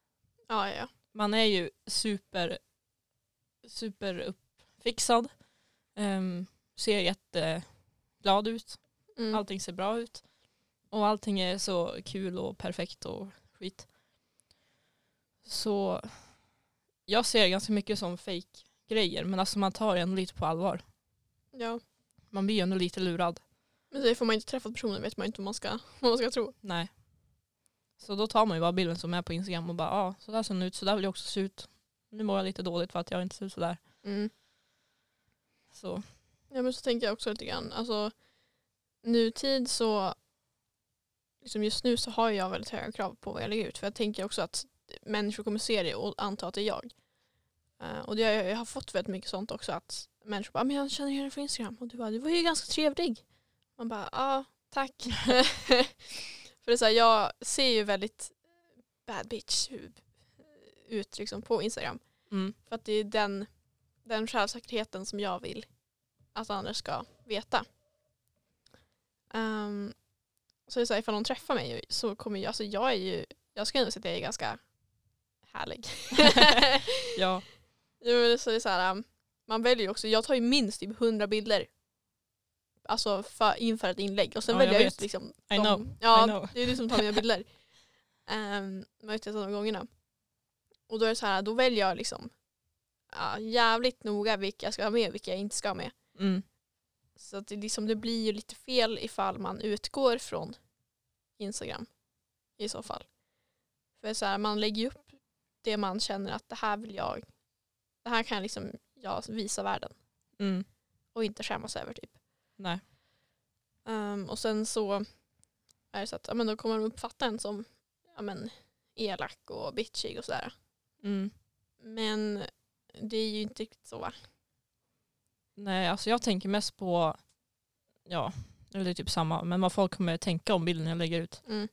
B: ja, ja, ja.
C: Man är ju super, super uppfixad. Ehm, ser jätteglad ut.
B: Mm.
C: Allting ser bra ut. Och allting är så kul och perfekt och skit. Så jag ser ganska mycket som fake grejer men alltså man tar det ändå lite på allvar.
B: ja.
C: Man blir ju ändå lite lurad.
B: Men så får man inte träffat personen vet man inte vad man ska, [laughs] vad man ska tro.
C: Nej. Så då tar man ju bara bilden som är på Instagram och bara ja, ah, så där ser den ut, så där vill jag också se ut. Nu mår jag lite dåligt för att jag inte ser ut så där.
B: Mm.
C: Så
B: Ja, men så tänker jag också lite grann. Alltså, nutid så, liksom just nu så har jag väldigt höga krav på vad jag lägger ut. För jag tänker också att människor kommer se det och anta att det är jag. Eh, och det, har jag jag har fått väldigt mycket sånt också. Att människor bara, "Ah, men jag känner igen dig från Instagram. Och du bara, du var ju ganska trevlig. Man bara, ja, tack. [laughs] för det är så här, jag ser ju väldigt bad bitch ut liksom, på Instagram.
C: mm.
B: För att det är den, den självsäkerheten som jag vill att andra ska veta. Ehm, så det är så här, ifall någon träffar mig så kommer jag, alltså jag är ju, jag skulle ändå säga att jag är ganska härlig. [laughs]
C: ja,
B: jo, men så det är så här, um, man väljer ju också, jag tar ju minst typ 100 bilder. Alltså för, inför ett inlägg och sen
C: Ja,
B: väljer
C: jag
B: jag,
C: vet.
B: ut liksom.
C: I
B: de-
C: know,
B: Ja,
C: I know.
B: det är du som tar mina bilder. Um, man har ju testat de gångerna. Och då är det så här, då väljer jag liksom ja, jävligt noga vilka jag ska ha med och vilka jag inte ska ha med.
C: mm.
B: Så att det, liksom, det blir ju lite fel ifall man utgår från Instagram i så fall. För så här, man lägger ju upp det man känner att det här vill jag, det här kan liksom jag visa världen
C: Mm.
B: och inte skämmas över typ.
C: Nej.
B: Ehm, och sen så är det så att ja, men då kommer de uppfatta en som ja, men, elak och bitchig och sådär.
C: Mm.
B: Men det är ju inte riktigt så va?
C: Nej, alltså jag tänker mest på, ja, eller det är typ samma, men vad folk kommer tänka om bilden jag lägger ut.
B: Mm.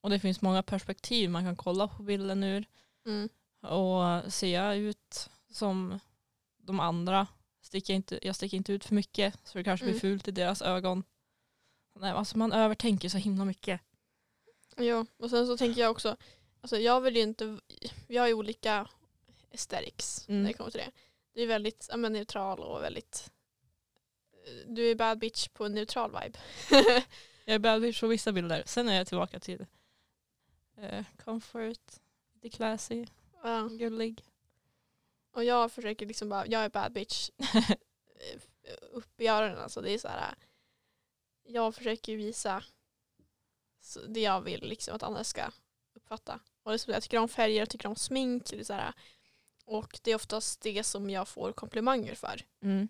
C: Och det finns många perspektiv man kan kolla på bilden ur.
B: Mm.
C: Och ser jag ut som de andra, sticker jag inte, jag sticker inte ut för mycket så det kanske
B: Mm.
C: blir fult i deras ögon. Nej, alltså man övertänker så himla mycket.
B: Ja, och sen så tänker jag också, alltså jag vill ju inte, vi har ju olika aesthetics
C: Mm.
B: när det kommer till det. Du är väldigt ja, men, neutral och väldigt, eh, du är bad bitch på en neutral vibe. [laughs]
C: Jag är bad bitch på vissa bilder. Sen är jag tillbaka till eh, comfort, lite classy,
B: Ja.
C: gullig.
B: Och jag försöker liksom bara, jag är bad bitch [laughs] eh, upp i öronen alltså. Det är så här, jag försöker ju visa så- det jag vill liksom att andra ska uppfatta. Och det är så, jag tycker om färger, jag tycker om smink. Det är så här, äh, och det är oftast det som jag får komplimanger för.
C: Mm.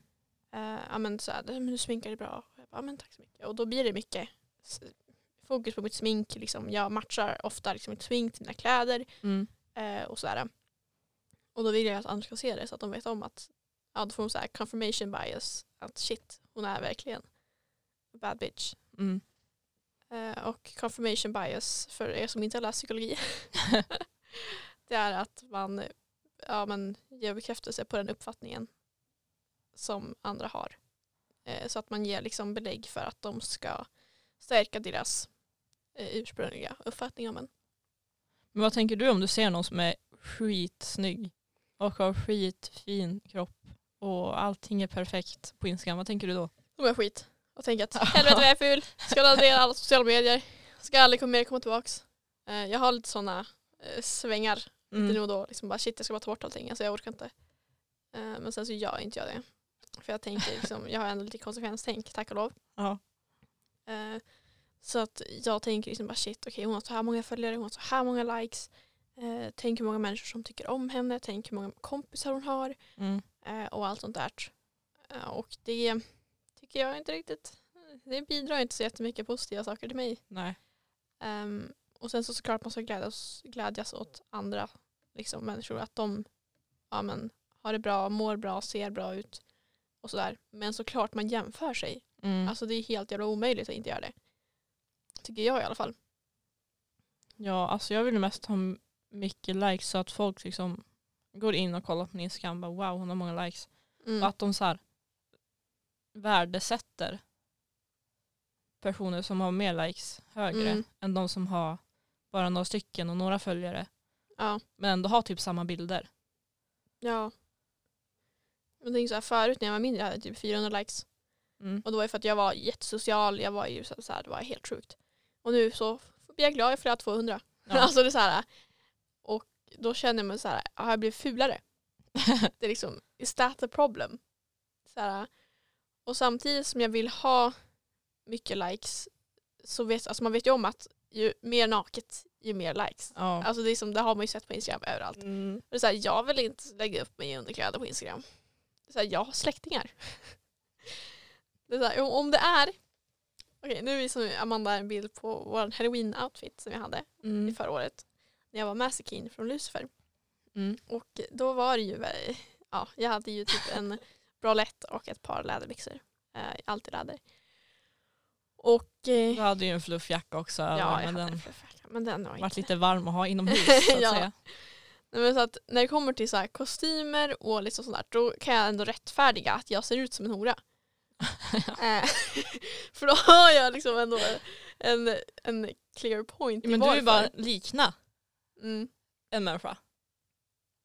B: Eh, ja, men så här, men du sminkar dig bra. Och jag bara, "Ja, men tack så mycket. Och då blir det mycket s- fokus på mitt smink. Liksom. Jag matchar ofta liksom, mitt smink till mina kläder.
C: Mm.
B: Eh, och, så här. och då vill jag att andra ska se det så att de vet om att ja, då får de så här confirmation bias. Att shit, hon är verkligen bad bitch.
C: Mm.
B: Eh, och confirmation bias, för er som inte har läst psykologi, det är att man, ja, man ger bekräftelse på den uppfattningen som andra har. Eh, så att man ger liksom belägg för att de ska stärka deras eh, ursprungliga uppfattning om en.
C: Men vad tänker du om du ser någon som är skitsnygg och har skitfin kropp och allting är perfekt på Instagram? Vad tänker du då?
B: De är skit och tänker att helvete vad jag är ful, ska radera alla sociala medier, ska aldrig komma- mer komma tillbaks. Eh, jag har lite sådana eh, svängar
C: Mm.
B: lite nu och då. Liksom bara, shit, jag ska bara ta bort allting. Alltså, jag orkar inte. Eh, men sen så gör inte jag det. För jag tänker liksom, jag har ändå lite konsekvenstänk, tack och lov.
C: Ja.
B: Eh, så att jag tänker liksom bara shit, okej hon har så här många följare, hon har så här många likes. Eh, tänk hur många människor som tycker om henne, tänk hur många kompisar hon har
C: Mm.
B: eh, och allt sånt där. Eh, och det tycker jag inte riktigt, det bidrar inte så jättemycket positiva saker till mig.
C: Nej.
B: Ehm, och sen så såklart man ska glädjas, glädjas åt andra liksom, människor. Att de ja, men, har det bra, mår bra, ser bra ut. Och sådär. Men såklart man jämför sig.
C: Mm.
B: Alltså det är helt jävla omöjligt att inte göra det. Tycker jag i alla fall.
C: Ja, alltså jag vill ju mest ha m- mycket likes så att folk liksom går in och kollar på min Instagram och bara wow hon har många likes.
B: Mm.
C: Och att de så här värdesätter personer som har mer likes högre
B: Mm.
C: än de som har bara några stycken och några följare
B: Ja.
C: men ändå har typ samma bilder.
B: ja. Jag tänker så här, förut när jag var mindre hade jag typ 400 likes. [laughs]
C: Mm.
B: Och det var ju för att jag var jättesocial. Jag var ju så så här, det var helt sjukt. Och nu så blir jag glad för att jag har 200. [laughs]
C: Ja.
B: Alltså det är så här, och då känner man så här, har jag blivit
C: [laughs]
B: fulare? det är liksom, is that the problem? Så här, och samtidigt som jag vill ha mycket likes så vet alltså man vet ju om att ju mer naket ju mer likes.
C: Ja.
B: Alltså det, är som, det har man ju sett på Instagram överallt. Och
C: Mm.
B: det är så här, jag vill inte lägga upp mig i underkläder på Instagram. Det är så här, jag har släktingar. Det är så här, om- om det är... Okej, nu visar nu Amanda en bild på vår halloween-outfit som jag hade i
C: Mm.
B: förra året. När jag var med Sekin från Lucifer.
C: Mm.
B: Och då var det ju, eh, ja, jag hade ju typ en bralett och ett par läderbyxor. Eh, alltid läder. Och eh,
C: Du hade ju en fluffjacka också.
B: ja,
C: Ja,
B: jag
C: men
B: hade
C: den
B: förfärligt. Men den var
C: varit
B: inte.
C: lite varm att
B: [laughs]
C: ha inomhus. Så att
B: Ja.
C: säga.
B: Nej, men så att när det kommer till så här kostymer och liksom sånt där, då kan jag ändå rättfärdiga att jag ser ut som en
C: [laughs]
B: hora. Eh, [laughs] För då har jag liksom ändå en, en clear point i
C: Men du är ju bara
B: varför.
C: likna
B: Mm,
C: en människa.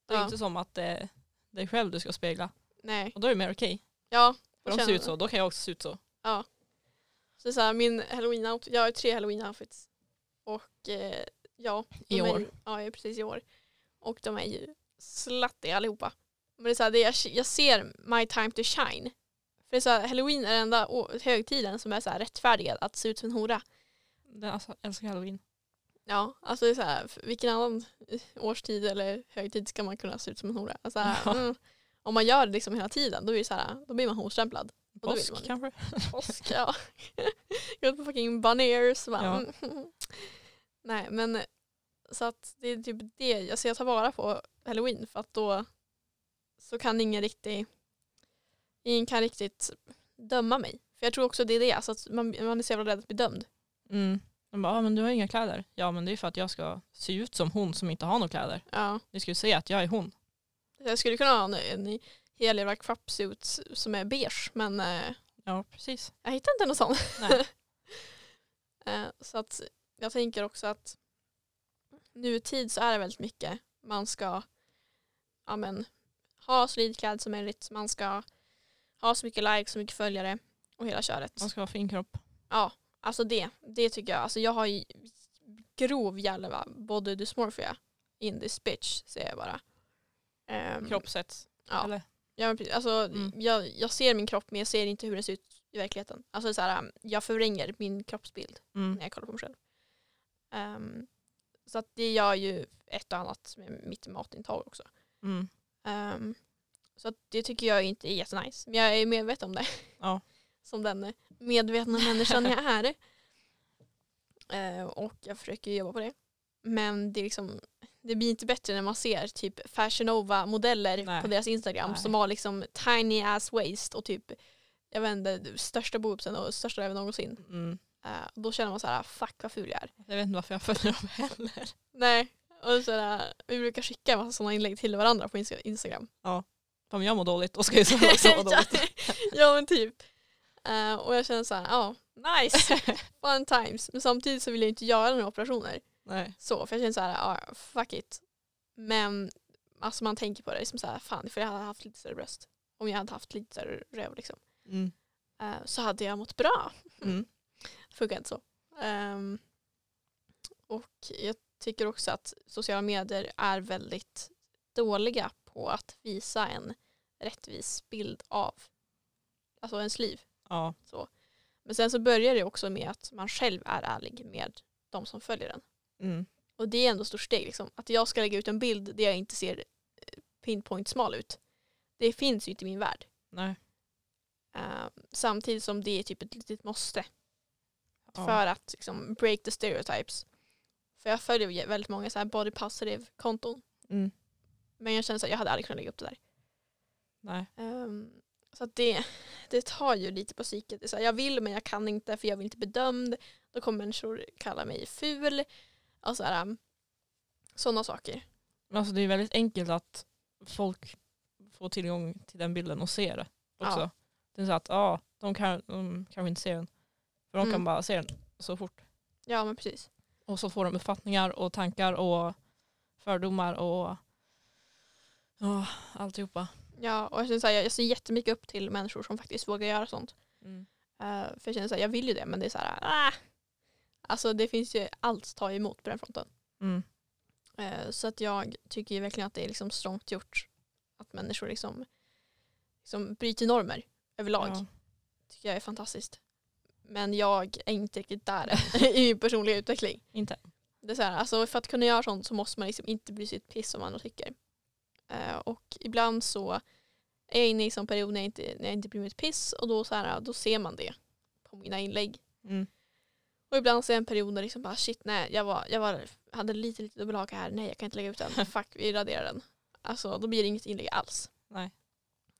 C: Det är ju
B: Ja.
C: inte som att det är dig själv du ska spegla.
B: nej.
C: Och då är det mer okej.
B: Ja,
C: För
B: Och
C: de ser
B: känna-
C: ut så, då kan jag också se ut så.
B: Så det är så här, min halloween outfit, jag har tre halloween outfits. Och eh, ja. de
C: I
B: är-
C: år.
B: Ja, jag är precis i år. Och de är ju slattiga allihopa. Men det är så här, det är, jag ser my time to shine. För det är så här, halloween är den enda å- högtiden som är så här rättfärdigad att se ut som en hora.
C: Den, alltså, jag älskar halloween.
B: Ja, alltså det är så här, för vilken annan eh, årstid eller högtid ska man kunna se ut som en hora?
C: [laughs]
B: Alltså,
C: Ja.
B: mm, om man gör det liksom hela tiden då, är det så här, då blir man horstämplad. då vill
C: Påsk
B: man inte.
C: kanske?
B: påsk. Ja. [laughs] Gått på fucking banérs.
C: Ja.
B: Ja. Nej men så att det är typ det. Alltså jag tar vara på halloween för att då så kan ingen riktigt ingen kan riktigt döma mig. För jag tror också det är det. Alltså att man, man är så jävla rädd att bli dömd.
C: Mm. De bara, ah, men du har inga kläder. Ja men det är för att jag ska se ut som hon som inte har några kläder.
B: Ja.
C: Ni ska ju se att jag är hon.
B: Jag skulle kunna ha en, en hel jävla crapsuit som är beige men eh,
C: Ja precis.
B: Jag hittar inte någon sån.
C: Nej.
B: [laughs] Eh, så att jag tänker också att nutid så är det väldigt mycket man ska ja, men, ha så lite kläder som möjligt. Man ska ha så mycket likes, så mycket följare och hela köret.
C: Man ska ha fin kropp.
B: Alltså det, det tycker jag. Alltså jag har ju grov jävla body dysmorphia in this bitch säger jag bara. Ehm,
C: Kroppssätt.
B: Ja.
C: Eller?
B: Ja, men precis. alltså,
C: Mm.
B: jag, jag ser min kropp men jag ser inte hur den ser ut i verkligheten. Alltså, det är så här, jag förvränger min kroppsbild
C: Mm.
B: när jag kollar på mig själv. Ehm, så att det gör ju ett och annat med mitt matintag också.
C: Mm.
B: Ehm, så att det tycker jag inte är jättenice. Men jag är medveten om det.
C: Ja.
B: [laughs] Som den medvetna människan jag är. Ehm, och jag försöker jobba på det. Men det, är liksom, det blir inte bättre när man ser typ Fashion Nova-modeller
C: Nej.
B: på deras Instagram
C: Nej.
B: som har liksom tiny ass waist och typ jag vet inte, största boobsen och största även någonsin.
C: Mm.
B: Ehm, då känner man så här, fuck vad ful jag är.
C: Jag vet inte varför jag följer dem heller.
B: Nej, och sådär, vi brukar skicka en massa sådana inlägg till varandra på Insta- Instagram.
C: Om jag mår dåligt då ska jag säga [laughs] också må
B: [laughs] ja,
C: dåligt.
B: ja men typ. Eh, och jag känner såhär, ja
C: [laughs]
B: nice, fun times. Men samtidigt så vill jag inte göra några operationer.
C: Nej.
B: Så, för jag känner såhär, ja fuck it. Men alltså man tänker på det som såhär, fan för jag hade haft lite större bröst. Om jag hade haft lite större röv liksom.
C: Mm.
B: Eh, så hade jag mått bra.
C: Mm.
B: funkar inte så. Ehm, och jag tycker också att sociala medier är väldigt dåliga på att visa en rättvis bild av alltså ens liv.
C: Ja.
B: Men sen så börjar det också med att man själv är ärlig med de som följer en.
C: Mm.
B: Och det är ändå ett stort steg. Liksom. Att jag ska lägga ut en bild där jag inte ser eh, pinpoint smal ut. Det finns ju inte i min värld.
C: Nej.
B: Ehm, samtidigt som det är typ ett litet måste.
C: Ja.
B: för att liksom, break the stereotypes. För jag följer ju väldigt många så här body positive konton.
C: Mm.
B: Men jag känner att jag hade aldrig kunnat lägga upp det där.
C: Nej.
B: Ehm, så att det, det tar ju lite på psyket. Det är Så här, jag vill men jag kan inte för jag vill inte bli bedömd. Då kommer människor kalla mig ful. Och så här, um, sådana saker.
C: Men alltså det är väldigt enkelt att folk får tillgång till den bilden och ser det också.
B: Ja.
C: Det är så att ja, de, kan, de kanske inte ser den. För de
B: Mm.
C: kan bara se den så fort.
B: Ja men precis.
C: Och så får de uppfattningar och tankar och fördomar och ja, alltihopa.
B: Ja, och jag, känner så här, jag, jag ser jättemycket upp till människor som faktiskt vågar göra sånt.
C: Mm.
B: Ehm, för jag känner att jag vill ju det men det är så här, ah. Alltså det finns ju allt att ta emot på den fronten.
C: Mm.
B: Eh, Så att jag tycker ju verkligen att det är liksom strångt gjort att människor liksom, liksom bryter normer överlag.
C: Ja.
B: tycker jag är fantastiskt. Men jag är inte riktigt där [laughs] i min personliga utveckling.
C: Inte.
B: Det är så här, alltså för att kunna göra sånt så måste man liksom inte bry sig ett piss om vad andra tycker. Eh, och ibland så är jag inne i en sån period när jag inte, när jag inte bryr mig ett piss och då, så här, då ser man det på mina inlägg.
C: Mm.
B: Och ibland så är jag en period där liksom bara shit nej jag, var, jag var, hade lite lite dubbelhaka här, nej jag kan inte lägga ut den, fuck vi raderar den. Alltså då blir det inget inlägg alls.
C: Nej.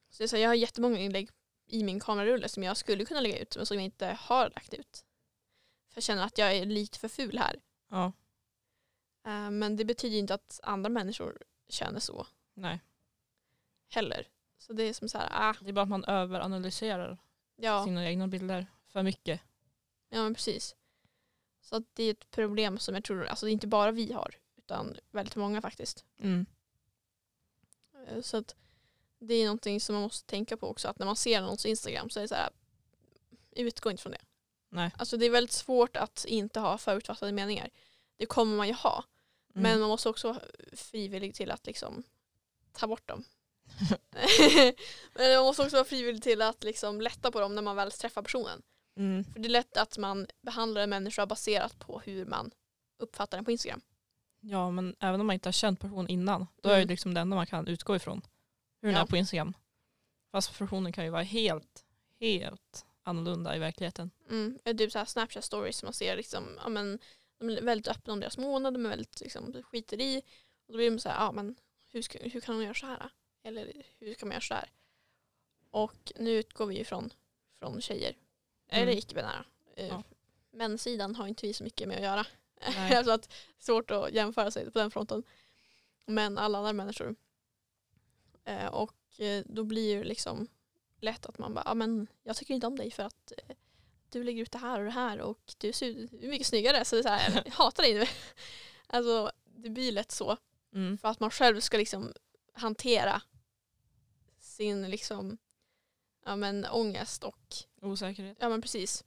B: Så jag, så här, jag har jättemånga inlägg i min kamerarulle som jag skulle kunna lägga ut men som jag inte har lagt ut. För jag känner att jag är lite för ful här.
C: Ja,
B: Eh, Men det betyder ju inte att andra människor känner så
C: nej.
B: heller. Så det är som så här, ah,
C: Det är bara att man överanalyserar
B: ja,
C: sina egna bilder för mycket.
B: ja men precis. Så att det är ett problem som jag tror, alltså det är inte bara vi har, utan väldigt många faktiskt.
C: Mm.
B: Eh, Så att det är någonting som man måste tänka på också, att när man ser någons Instagram så är det så här, utgå inte från det.
C: Nej.
B: Alltså det är väldigt svårt att inte ha förutfattade meningar. Det kommer man ju ha,
C: Mm.
B: men man måste också vara frivillig till att liksom ta bort
C: [laughs]
B: dem. men man måste också vara frivillig till att liksom lätta på dem när man väl träffar personen.
C: Mm.
B: För det är lätt att man behandlar en människa baserat på hur man uppfattar den på Instagram.
C: Ja, men även om man inte har känt personen innan, då är
B: Mm.
C: det liksom det enda man kan utgå ifrån. Hur den
B: Ja.
C: är på Instagram. Fast personen kan ju vara helt, helt annorlunda i verkligheten.
B: Mm, eller typ så här Snapchat stories som man ser liksom, ja men de är väldigt öppna om deras månad, de är väldigt liksom skiter i. Och då blir de så här, ja men hur, ska, hur kan de göra så här? då? Eller hur kan man göra så här? Och nu utgår vi ju från, från tjejer,
C: Mm.
B: eller icke-binära. Eh,
C: Ja.
B: Män-sidan har inte vi så mycket med att göra. [laughs]
C: Nej.
B: alltså att svårt att jämföra sig på den fronten. Men alla andra människor. Eh, och eh, då blir det liksom lätt att man bara, ja men jag tycker inte om dig för att eh, du lägger ut det här och det här och du ser ut- du är mycket snyggare så det är så
C: [laughs]
B: här, jag hatar dig nu. [laughs] alltså det blir lätt så
C: Mm.
B: för att man själv ska liksom hantera sin liksom ja men ångest och
C: Osäkerhet.
B: Ja men precis.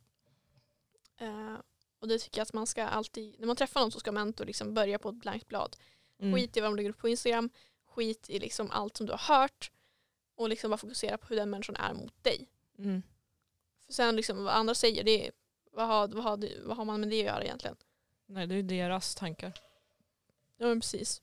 B: Eh, och det tycker jag att man ska alltid, när man träffar någon så ska man inte liksom börja på ett blankt blad.
C: Mm.
B: Skit i vad de lägger upp på Instagram, skit i liksom allt som du har hört och liksom bara fokusera på hur den människan är mot dig.
C: Mm.
B: För sen liksom vad andra säger, det är, vad, har, vad, har, du- vad har man med det att göra egentligen?
C: Nej, det är ju deras tankar.
B: Ja men precis.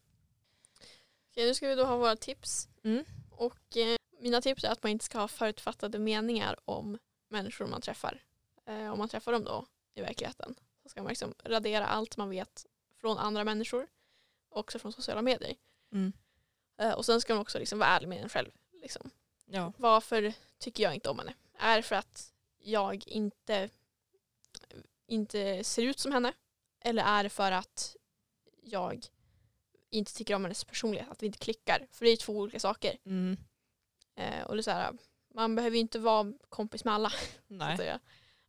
B: Okej, nu ska vi då ha våra tips.
C: Mm.
B: Och eh, mina tips är att man inte ska ha förutfattade meningar om människor man träffar. Eh, om man träffar dem då i verkligheten så ska man liksom radera allt man vet från andra människor. Också från sociala medier.
C: Mm.
B: Eh, och sen ska man också liksom vara ärlig med en själv. Liksom.
C: Ja.
B: Varför tycker jag inte om henne? Är det för att jag inte, inte ser ut som henne? Eller är det för att jag inte tycker om hennes personlighet, att vi inte klickar? För det är två olika saker.
C: Mm.
B: Eh, och det är så här, man behöver ju inte vara kompis med alla. Så att
C: Nej.
B: säga.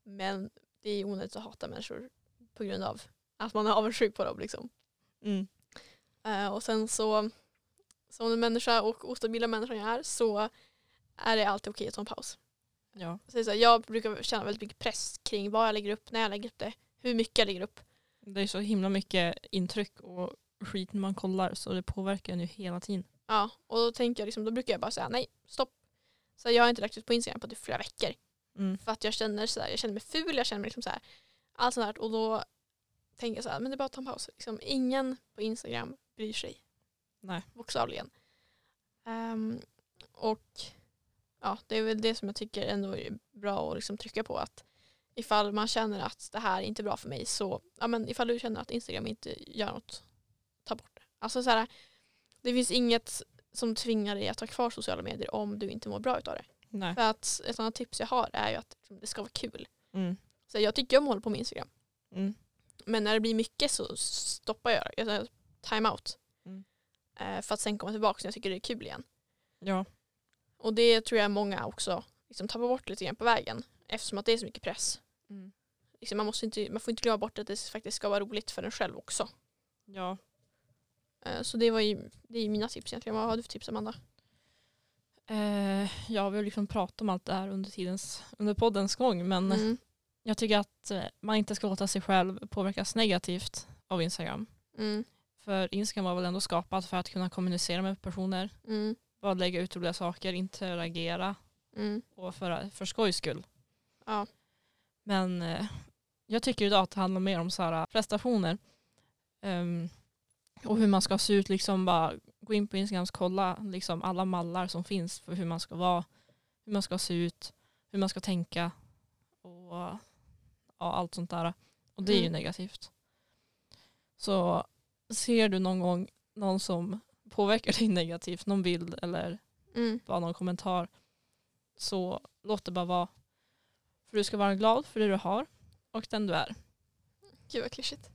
B: Men det är onödigt att hata människor på grund av att man är [laughs] avundsjuk på dem. Liksom.
C: Mm.
B: Eh, och sen så, som en människa och ostabila människan jag är, så är det alltid okej att ta en paus.
C: Ja.
B: Så det är så här, jag brukar känna väldigt mycket press kring vad jag lägger upp, när jag lägger upp det, hur mycket jag lägger upp.
C: Det är så himla mycket intryck och skit man kollar så det påverkar en ju hela tiden.
B: Ja, och då tänker jag liksom, då brukar jag bara säga nej, stopp. Så jag har inte lagt ut på Instagram på typ flera veckor.
C: Mm.
B: För att jag känner, så här, jag känner mig ful, jag känner mig liksom så här, allt sånt här. Och då tänker jag så här, men det är bara att ta en paus. Liksom, ingen på Instagram bryr sig.
C: Nej.
B: Bokstavligen. Ehm, och ja, det är väl det som jag tycker ändå är bra att liksom trycka på. Att ifall man känner att det här är inte bra för mig så, ja men ifall du känner att Instagram inte gör något, ta bort det. Alltså så här, det finns inget som tvingar dig att ha kvar sociala medier om du inte mår bra utav det.
C: Nej.
B: För att ett annat tips jag har är ju att liksom, det ska vara kul.
C: Mm.
B: Så jag tycker om att hålla på med Instagram.
C: Mm.
B: Men när det blir mycket så stoppar jag. Jag tar time-out.
C: Mm.
B: Eh, För att sen komma tillbaka när jag tycker det är kul igen.
C: Ja.
B: Och det tror jag många också liksom tappar bort lite grann på vägen. Eftersom att det är så mycket press.
C: Mm.
B: Liksom man, måste inte, man får inte glömma bort att det faktiskt ska vara roligt för en själv också.
C: Ja.
B: Eh, Så det, var ju, det är ju mina tips egentligen. Vad har du för tips Amanda?
C: Eh, ja, vi har liksom pratat om allt det här under, tidens, under poddens gång men
B: Mm.
C: jag tycker att eh, man inte ska låta sig själv påverkas negativt av Instagram.
B: Mm.
C: För Instagram var väl ändå skapat för att kunna kommunicera med personer,
B: Mm.
C: bara lägga ut roliga saker, interagera
B: Mm.
C: och för, för skojs skull.
B: Ja.
C: Men eh, jag tycker idag att det handlar mer om så här eh, prestationer. Ehm, och hur man ska se ut, liksom bara gå in på Instagram och kolla liksom alla mallar som finns för hur man ska vara, hur man ska se ut, hur man ska tänka och ja, allt sånt där. Och det är ju
B: Mm.
C: negativt. Så ser du någon gång någon som påverkar [laughs] dig negativt, någon bild eller
B: Mm.
C: bara någon kommentar så låt det bara vara. För du ska vara glad för det du har och den du är.
B: Gud vad klyschigt.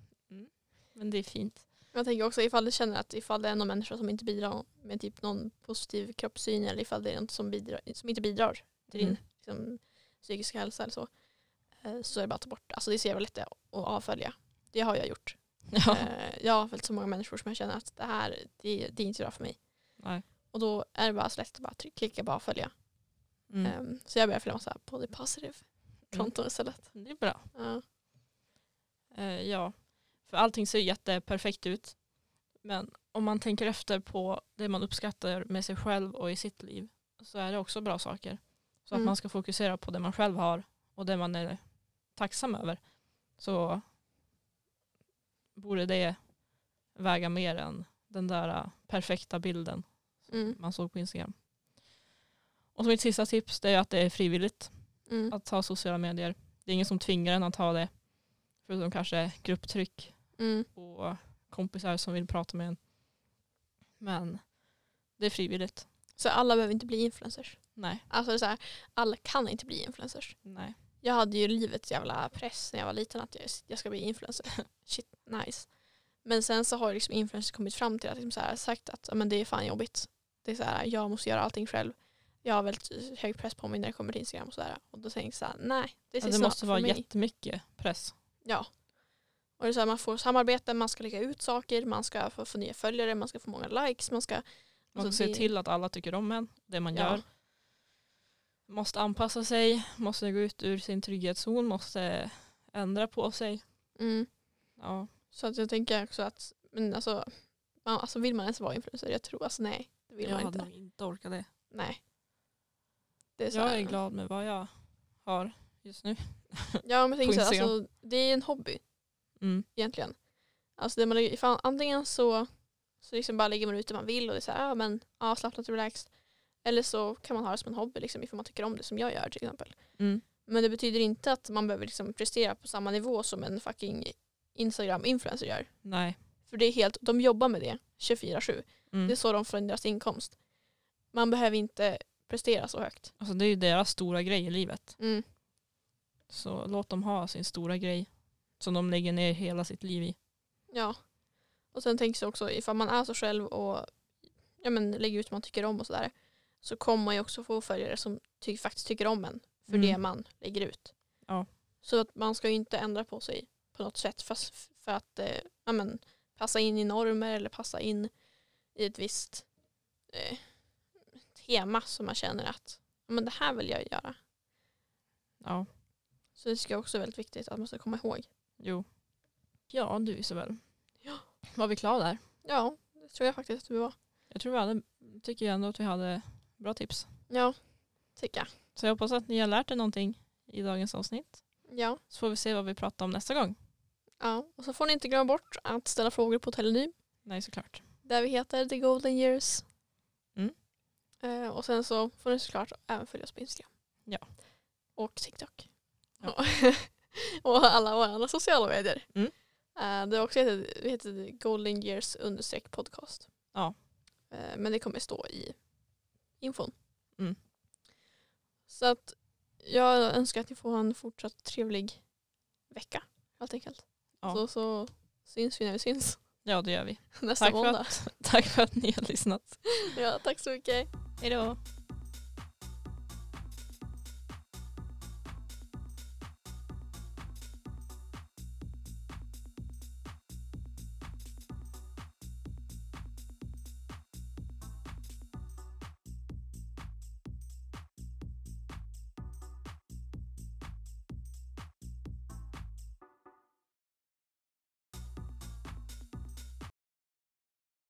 C: Men det är fint.
B: Jag tänker också ifall du känner att ifall det är någon människa som inte bidrar med typ någon positiv kroppssyn eller ifall det är något som, bidrar, som inte bidrar till din
C: Mm.
B: liksom, psykiska hälsa eller så. eh, Så är det bara att ta bort. Alltså det är så jävla lätt att avfölja. Det har jag gjort.
C: Ja.
B: Eh, Jag har följt så många människor som jag känner att det här det, det är inte bra för mig.
C: [laughs] Nej.
B: Och då är det bara så lätt att bara trycka, klicka bara avfölja.
C: Mm.
B: Eh, Så jag börjar följa massa body positive konton istället.
C: Det är bra.
B: Ja.
C: Eh, ja. För allting ser jätteperfekt ut. Men om man tänker efter på det man uppskattar med sig själv och i sitt liv så är det också bra saker. Så
B: Mm.
C: att man ska fokusera på det man själv har och det man är tacksam över. Så borde det väga mer än den där eh, perfekta bilden.
B: Mm.
C: man såg på Instagram. Och så mitt sista tips det är att det är frivilligt
B: Mm.
C: att ha sociala medier. Det är ingen som tvingar en att ha det. Förutom kanske grupptryck
B: Mm.
C: och kompisar som vill prata med en. Men det är frivilligt.
B: Så alla behöver inte bli influencers.
C: Nej.
B: Alltså det är så här, alla kan inte bli influencers.
C: Nej.
B: Jag hade ju livets jävla press när jag var liten att jag, jag ska bli influencer. [laughs] Shit, nice. Men sen så har ju liksom influencers kommit fram till att liksom så här, sagt att "Ja, men det är fan jobbigt. Det är så här, jag måste göra allting själv. Jag har väldigt hög press på mig när det kommer till Instagram och sådär. Och då tänker jag så här, nej, det
C: Ja,
B: är
C: det
B: snart
C: måste
B: för
C: vara
B: mig.
C: jättemycket press.
B: Ja. Och det är så här, man får samarbete, man ska lägga ut saker, man ska få, få nya följare, man ska få många likes, man ska...
C: Man
B: Alltså,
C: ska se
B: det-
C: till att alla tycker om en, det man
B: Ja.
C: gör. Måste anpassa sig, måste gå ut ur sin trygghetszon, måste ändra på sig.
B: Mm.
C: Ja.
B: Så att jag tänker också att, men alltså, man, alltså vill man ens vara influencer? Jag tror alltså nej, det vill man inte.
C: nog inte orkat det.
B: Nej. Det så
C: Jag
B: här-
C: är glad med vad jag har just nu.
B: Ja, men tänk
C: på
B: så här,
C: Instagram.
B: alltså, det är en hobby
C: Mm.
B: egentligen. Alltså det man, lägger- ifall, antingen så, så liksom bara lägger man ut det man vill och det är så här, ja, men avslappnat och relaxed. Eller så kan man ha det som en hobby liksom, ifall man tycker om det som jag gör till exempel. Men det betyder inte att man behöver liksom prestera på samma nivå som en fucking Instagram-influencer gör.
C: Nej.
B: För det är helt, de jobbar med det 24-7.
C: Mm.
B: Det är så de får in deras inkomst. Man behöver inte prestera så högt.
C: Alltså, det är ju deras stora grej i livet.
B: Mm.
C: Så låt dem ha sin stora grej som de lägger ner hela sitt liv i.
B: Ja. Och sen tänks det också ifall man är sig själv och ja, men, lägger ut vad man tycker om och sådär så kommer man ju också få följare som ty- faktiskt tycker om en för
C: Mm.
B: det man lägger ut.
C: Ja.
B: Så att man ska ju inte ändra på sig på något sätt för, för att eh, ja, men, passa in i normer eller passa in i ett visst eh, tema som man känner att ja, men det här vill jag göra.
C: Ja,
B: Så det ska också vara väldigt viktigt att man ska komma ihåg.
C: jo. Ja, du Isabel.
B: Ja.
C: Var vi klara där?
B: Ja, det tror jag faktiskt att vi var.
C: Jag tror vi hade, tycker jag ändå att vi hade bra tips.
B: Ja, tycker jag.
C: Så jag hoppas att ni har lärt er någonting i dagens avsnitt.
B: Ja.
C: Så får vi se vad vi pratar om nästa gång.
B: Ja, och så får ni inte glömma bort att ställa frågor på Telenym
C: Nej, såklart.
B: där vi heter The Golden Years.
C: Mm.
B: Eh, och sen så får ni såklart även följa oss på Instagram.
C: Ja.
B: Och TikTok.
C: Ja.
B: [laughs] Och, och alla våra andra sociala medier.
C: Mm.
B: Eh, det är också heter, vi heter The Golden Years understreck podcast.
C: Ja.
B: Eh, men det kommer stå i infon.
C: Mm.
B: Så att jag önskar att ni får en fortsatt trevlig vecka helt enkelt.
C: Ja.
B: Så, så syns vi när vi syns [laughs]
C: Ja, det gör vi.
B: nästa
C: [laughs] Tack för,
B: måndag.
C: att, tack för att ni har lyssnat.
B: Ja, tack så mycket.
C: Hej då.